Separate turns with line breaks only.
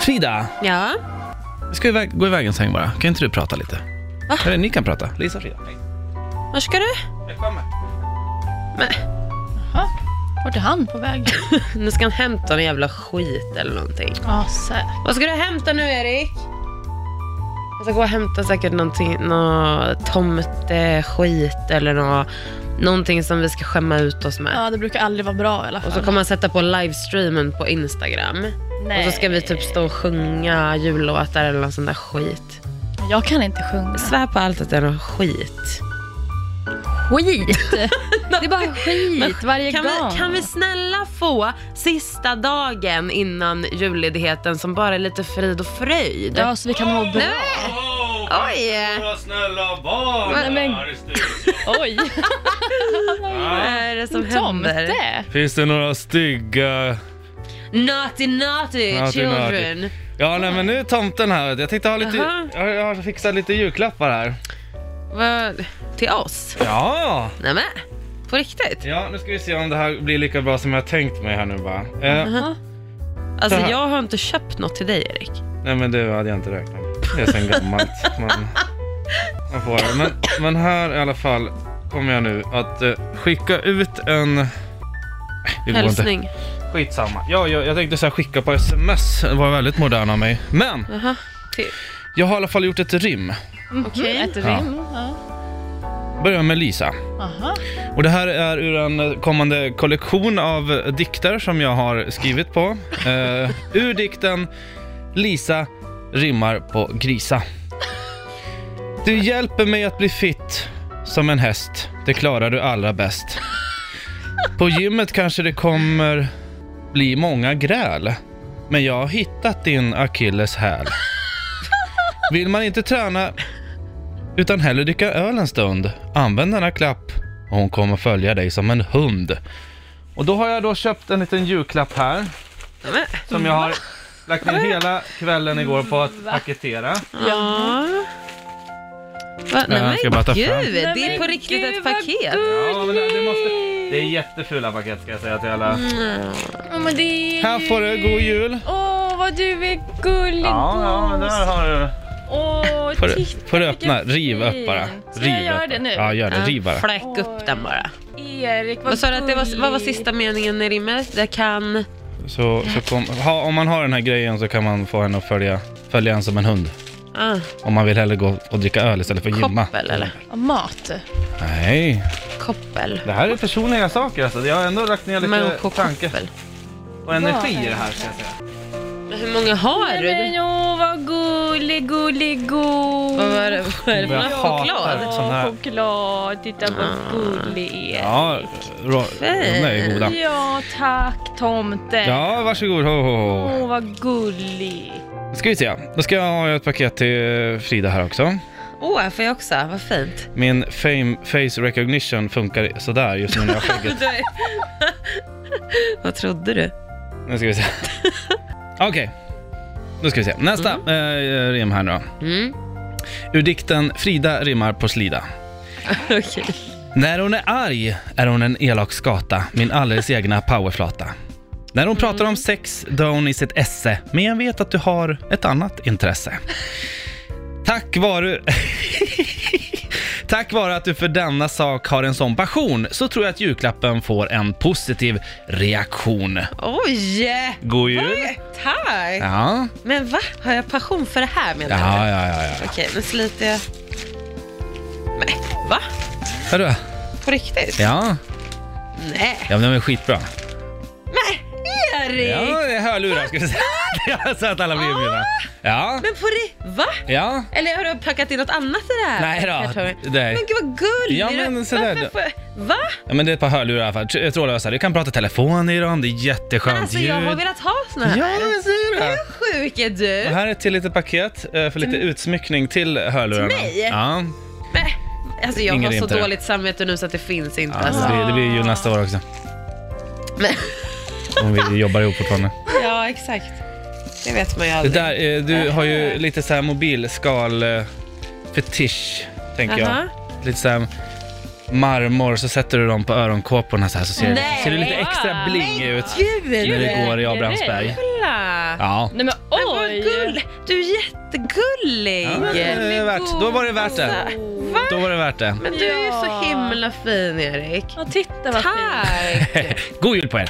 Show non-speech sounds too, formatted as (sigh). Frida,
Ja.
ska vi iväg- gå iväg en sväng bara? Kan inte du prata lite?
Va?
Eller ni kan prata. Lisa och Frida. Hej.
Var ska du? Men,
Vart är han på väg?
nu ska han hämta någon jävla skit eller någonting.
Ja, säkert.
Vad ska du hämta nu Erik? Jag ska gå och hämta säkert någonting, nå tomteskit eller nå, någonting som vi ska skämma ut oss med.
Ja, det brukar aldrig vara bra i alla fall.
Och så kommer han sätta på livestreamen på Instagram. Och så ska vi typ stå och sjunga jullåtar eller någon sån där skit.
Jag kan inte sjunga.
Svär på allt att det är någon skit.
(laughs) Skit! det är bara skit varje
Kan
gång.
vi, kan vi snälla få sista dagen innan julledigheten som bara är lite frid och fröjd?
Ja, så vi kan må bra.
Nej! Oj!
Våra snälla barn
Men- men-
här i studion.
(laughs)
Oj!
Vad är det som händer?
Tomte!
Finns det några stygga...
Naughty naughty,
Naughty,
children.
Ja, nej men nu är tomten här. vet du. Jag tänkte ha lite...
Jaha.
Jag har- jag har fixat lite julklappar här.
Vad- Till oss?
Ja!
Nämen, på riktigt?
Ja, nu ska vi se om det här blir lika bra som jag har tänkt mig här nu bara. Eh,
Alltså
Det här-
jag har inte köpt något till dig Erik.
Nej men det hade jag inte räknat med. Det är sen gammalt. Man, man får det. Men, men här i alla fall kommer jag nu att eh, skicka ut en... Eh, Det går inte.
Hälsning.
Skitsamma. Ja, jag, jag tänkte så här, skicka på sms. Det var väldigt modern av mig. Men!
Jaha. typ. Till-
Jag har i alla fall gjort ett rim.
Okej.
Ett
Ja.
rim. Mm, Ja.
Börjar med Lisa.
Aha.
Och det här är ur en eh, kommande kollektion av eh, dikter som jag har skrivit på. Eh, ur dikten Lisa rimmar på grisa. Du hjälper mig att bli fit som en häst. Det klarar du allra bäst. På gymmet kanske det kommer bli många gräl. Men jag har hittat din akilleshäl. Vill man inte träna utan hellre dricka öl en stund. Använd denna klapp och hon kommer följa dig som en hund. Och då har jag då köpt en liten julklapp här
Nämen.
som jag har lagt ner hela kvällen igår på att paketera.
Ja. Va? Nej, men
jag ska bara ta
gud,
fram.
det är på riktigt ett paket.
Ja, men det, det, måste, det är jättefula paket ska jag säga till alla.
Ja, men det är
Här får du, god jul!
Åh, vad du är gullig
Ja, ja, men där har du.
Åh,
Får du,
titta
får du öppna?
vilken
Riv upp bara.
fin. Ska
Riv
jag göra
upp.
det nu?
Ja, gör det. Riv bara.
Fläck upp den bara.
Erik, vad
Vad sa du att det var, vad var
gullig.
sista meningen i rimmet? Det kan...
Så, så kom, ha, om man har den här grejen så kan man få henne att följa, följa en som en hund.
Ah,
Om man vill hellre gå och dricka öl istället för att gymma.
koppel eller?
Ja, Mat.
Nej,
Koppel.
det här är personliga saker alltså. Jag har ändå lagt ner lite tanke
Marocko-koppel.
och energi i det här ska jag säga.
Men Hur många har
Nej, men
du?
åh, vad gullig, gullig, gul.
Vad var det, vad är det för
Jag
någon
hatar
choklad?
det.
Åh,
sån här.
choklad. Titta
Ah.
vad gullig Erik. Ja.
Ja, ro, nej goda.
tack tomte.
Ja, varsågod. Ho, ho,
Åh,
ho.
vad gullig.
Nu ska vi se. Då ska jag ha ett paket till Frida här också.
Åh, här får jag också. Vad fint.
Min fame, face recognition funkar sådär (laughs) just nu när jag har
(laughs)
skägget.
vad trodde du?
Nu ska vi se. Okej, då ska vi se. Nästa eh, rim här nu då.
Mm,
Ur dikten Frida rimmar på slida.
okej.
När hon är arg är hon en elak skata, min alldeles egna powerflata. När hon pratar om sex dör hon i sitt esse, men jag vet att du har ett annat intresse. Tack vare... (laughs) Tack vare att du för denna sak har en sån passion så tror jag att julklappen får en positiv reaktion.
Oj!
God jul!
Oj, Tack!
Ja,
Men va? Har jag passion för det här menar du?
ja, ja, ja. ja.
Okej, nu sliter jag. Nej, va?
Hörru,
På riktigt?
ja,
Nej.
ja men den var skitbra.
Erik!
Ja, det är Ah! hörlurar ska vi (laughs) säga. Jag sa att alla blir inbjudna. Ja,
Men på riktigt? Va?
ja.
Eller har du packat in något annat i det här?
Nej då,
Kartongen?
nej.
Men gud vad gullig
Ja,
du är.
men så där
Varför
då.
får jag- Va?
Ja, men det är ett par hörlurar i alla fall. Tr- Trådlösa. Du kan prata telefon i dem, det är jätteskönt
Men alltså jag har velat ha såna här.
Ja, jag ser det.
Hur sjuk är du?
Och här är ett till litet paket eh, för lite utsmyckning till hörlurarna.
Till mig?
Ja,
Men, alltså jag
Ingen
har så
inte.
dåligt samvete nu så att det finns inte.
ja det,
Alltså.
blir, det blir jul nästa år också.
Men,
Om vi jobbar ihop
(laughs)
fortfarande.
ja, exakt. Det vet man ju
Det
aldrig.
där, eh, du har ju lite så här mobilskal eh, fetisch, tänker
Aha.
jag. Lite så här marmor, så sätter du dem på öronkåporna så här så ser,
Nej.
ser det lite extra bling ut
Gud!
när
Gud.
du går i Abrahamsberg.
Kolla!
Ja.
Nej men oj,
men vad
Oj.
gull. Du är jättegullig.
Ja, det är värt. Då var det värt det.
Alltså,
Då var det värt det.
Men du är ju så
Ja.
himla fin Erik.
Ja, titta vad fint.
Tack!
God jul på er!